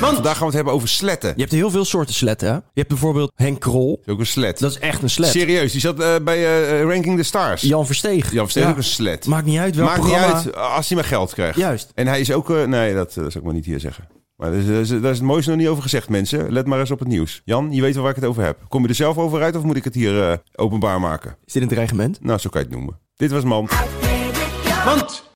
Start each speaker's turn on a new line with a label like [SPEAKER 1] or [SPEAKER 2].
[SPEAKER 1] Vandaag gaan we het hebben over sletten.
[SPEAKER 2] Je hebt heel veel soorten sletten. Hè? Je hebt bijvoorbeeld Henk Krol.
[SPEAKER 1] Is ook een slet.
[SPEAKER 2] Dat is echt een slet.
[SPEAKER 1] Serieus, die zat eh, bij eh, Ranking the Stars.
[SPEAKER 2] Jan Versteeg.
[SPEAKER 1] Jan Versteeg
[SPEAKER 2] Ja.
[SPEAKER 1] ook een slet.
[SPEAKER 2] Maakt niet uit welk
[SPEAKER 1] Maakt niet
[SPEAKER 2] programma.
[SPEAKER 1] uit eh, als hij maar geld krijgt.
[SPEAKER 2] Juist.
[SPEAKER 1] En hij is ook... eh, nee, dat, eh, dat zal ik maar niet hier zeggen. Maar daar is, daar is- daar is het mooiste nog niet over gezegd, mensen. Let maar eens op het nieuws. Jan, je weet wel waar ik het over heb. Kom je er zelf over uit of moet ik het hier eh, openbaar maken?
[SPEAKER 2] Is dit een dreigement?
[SPEAKER 1] Nou, zo kan je het noemen. Dit was Man.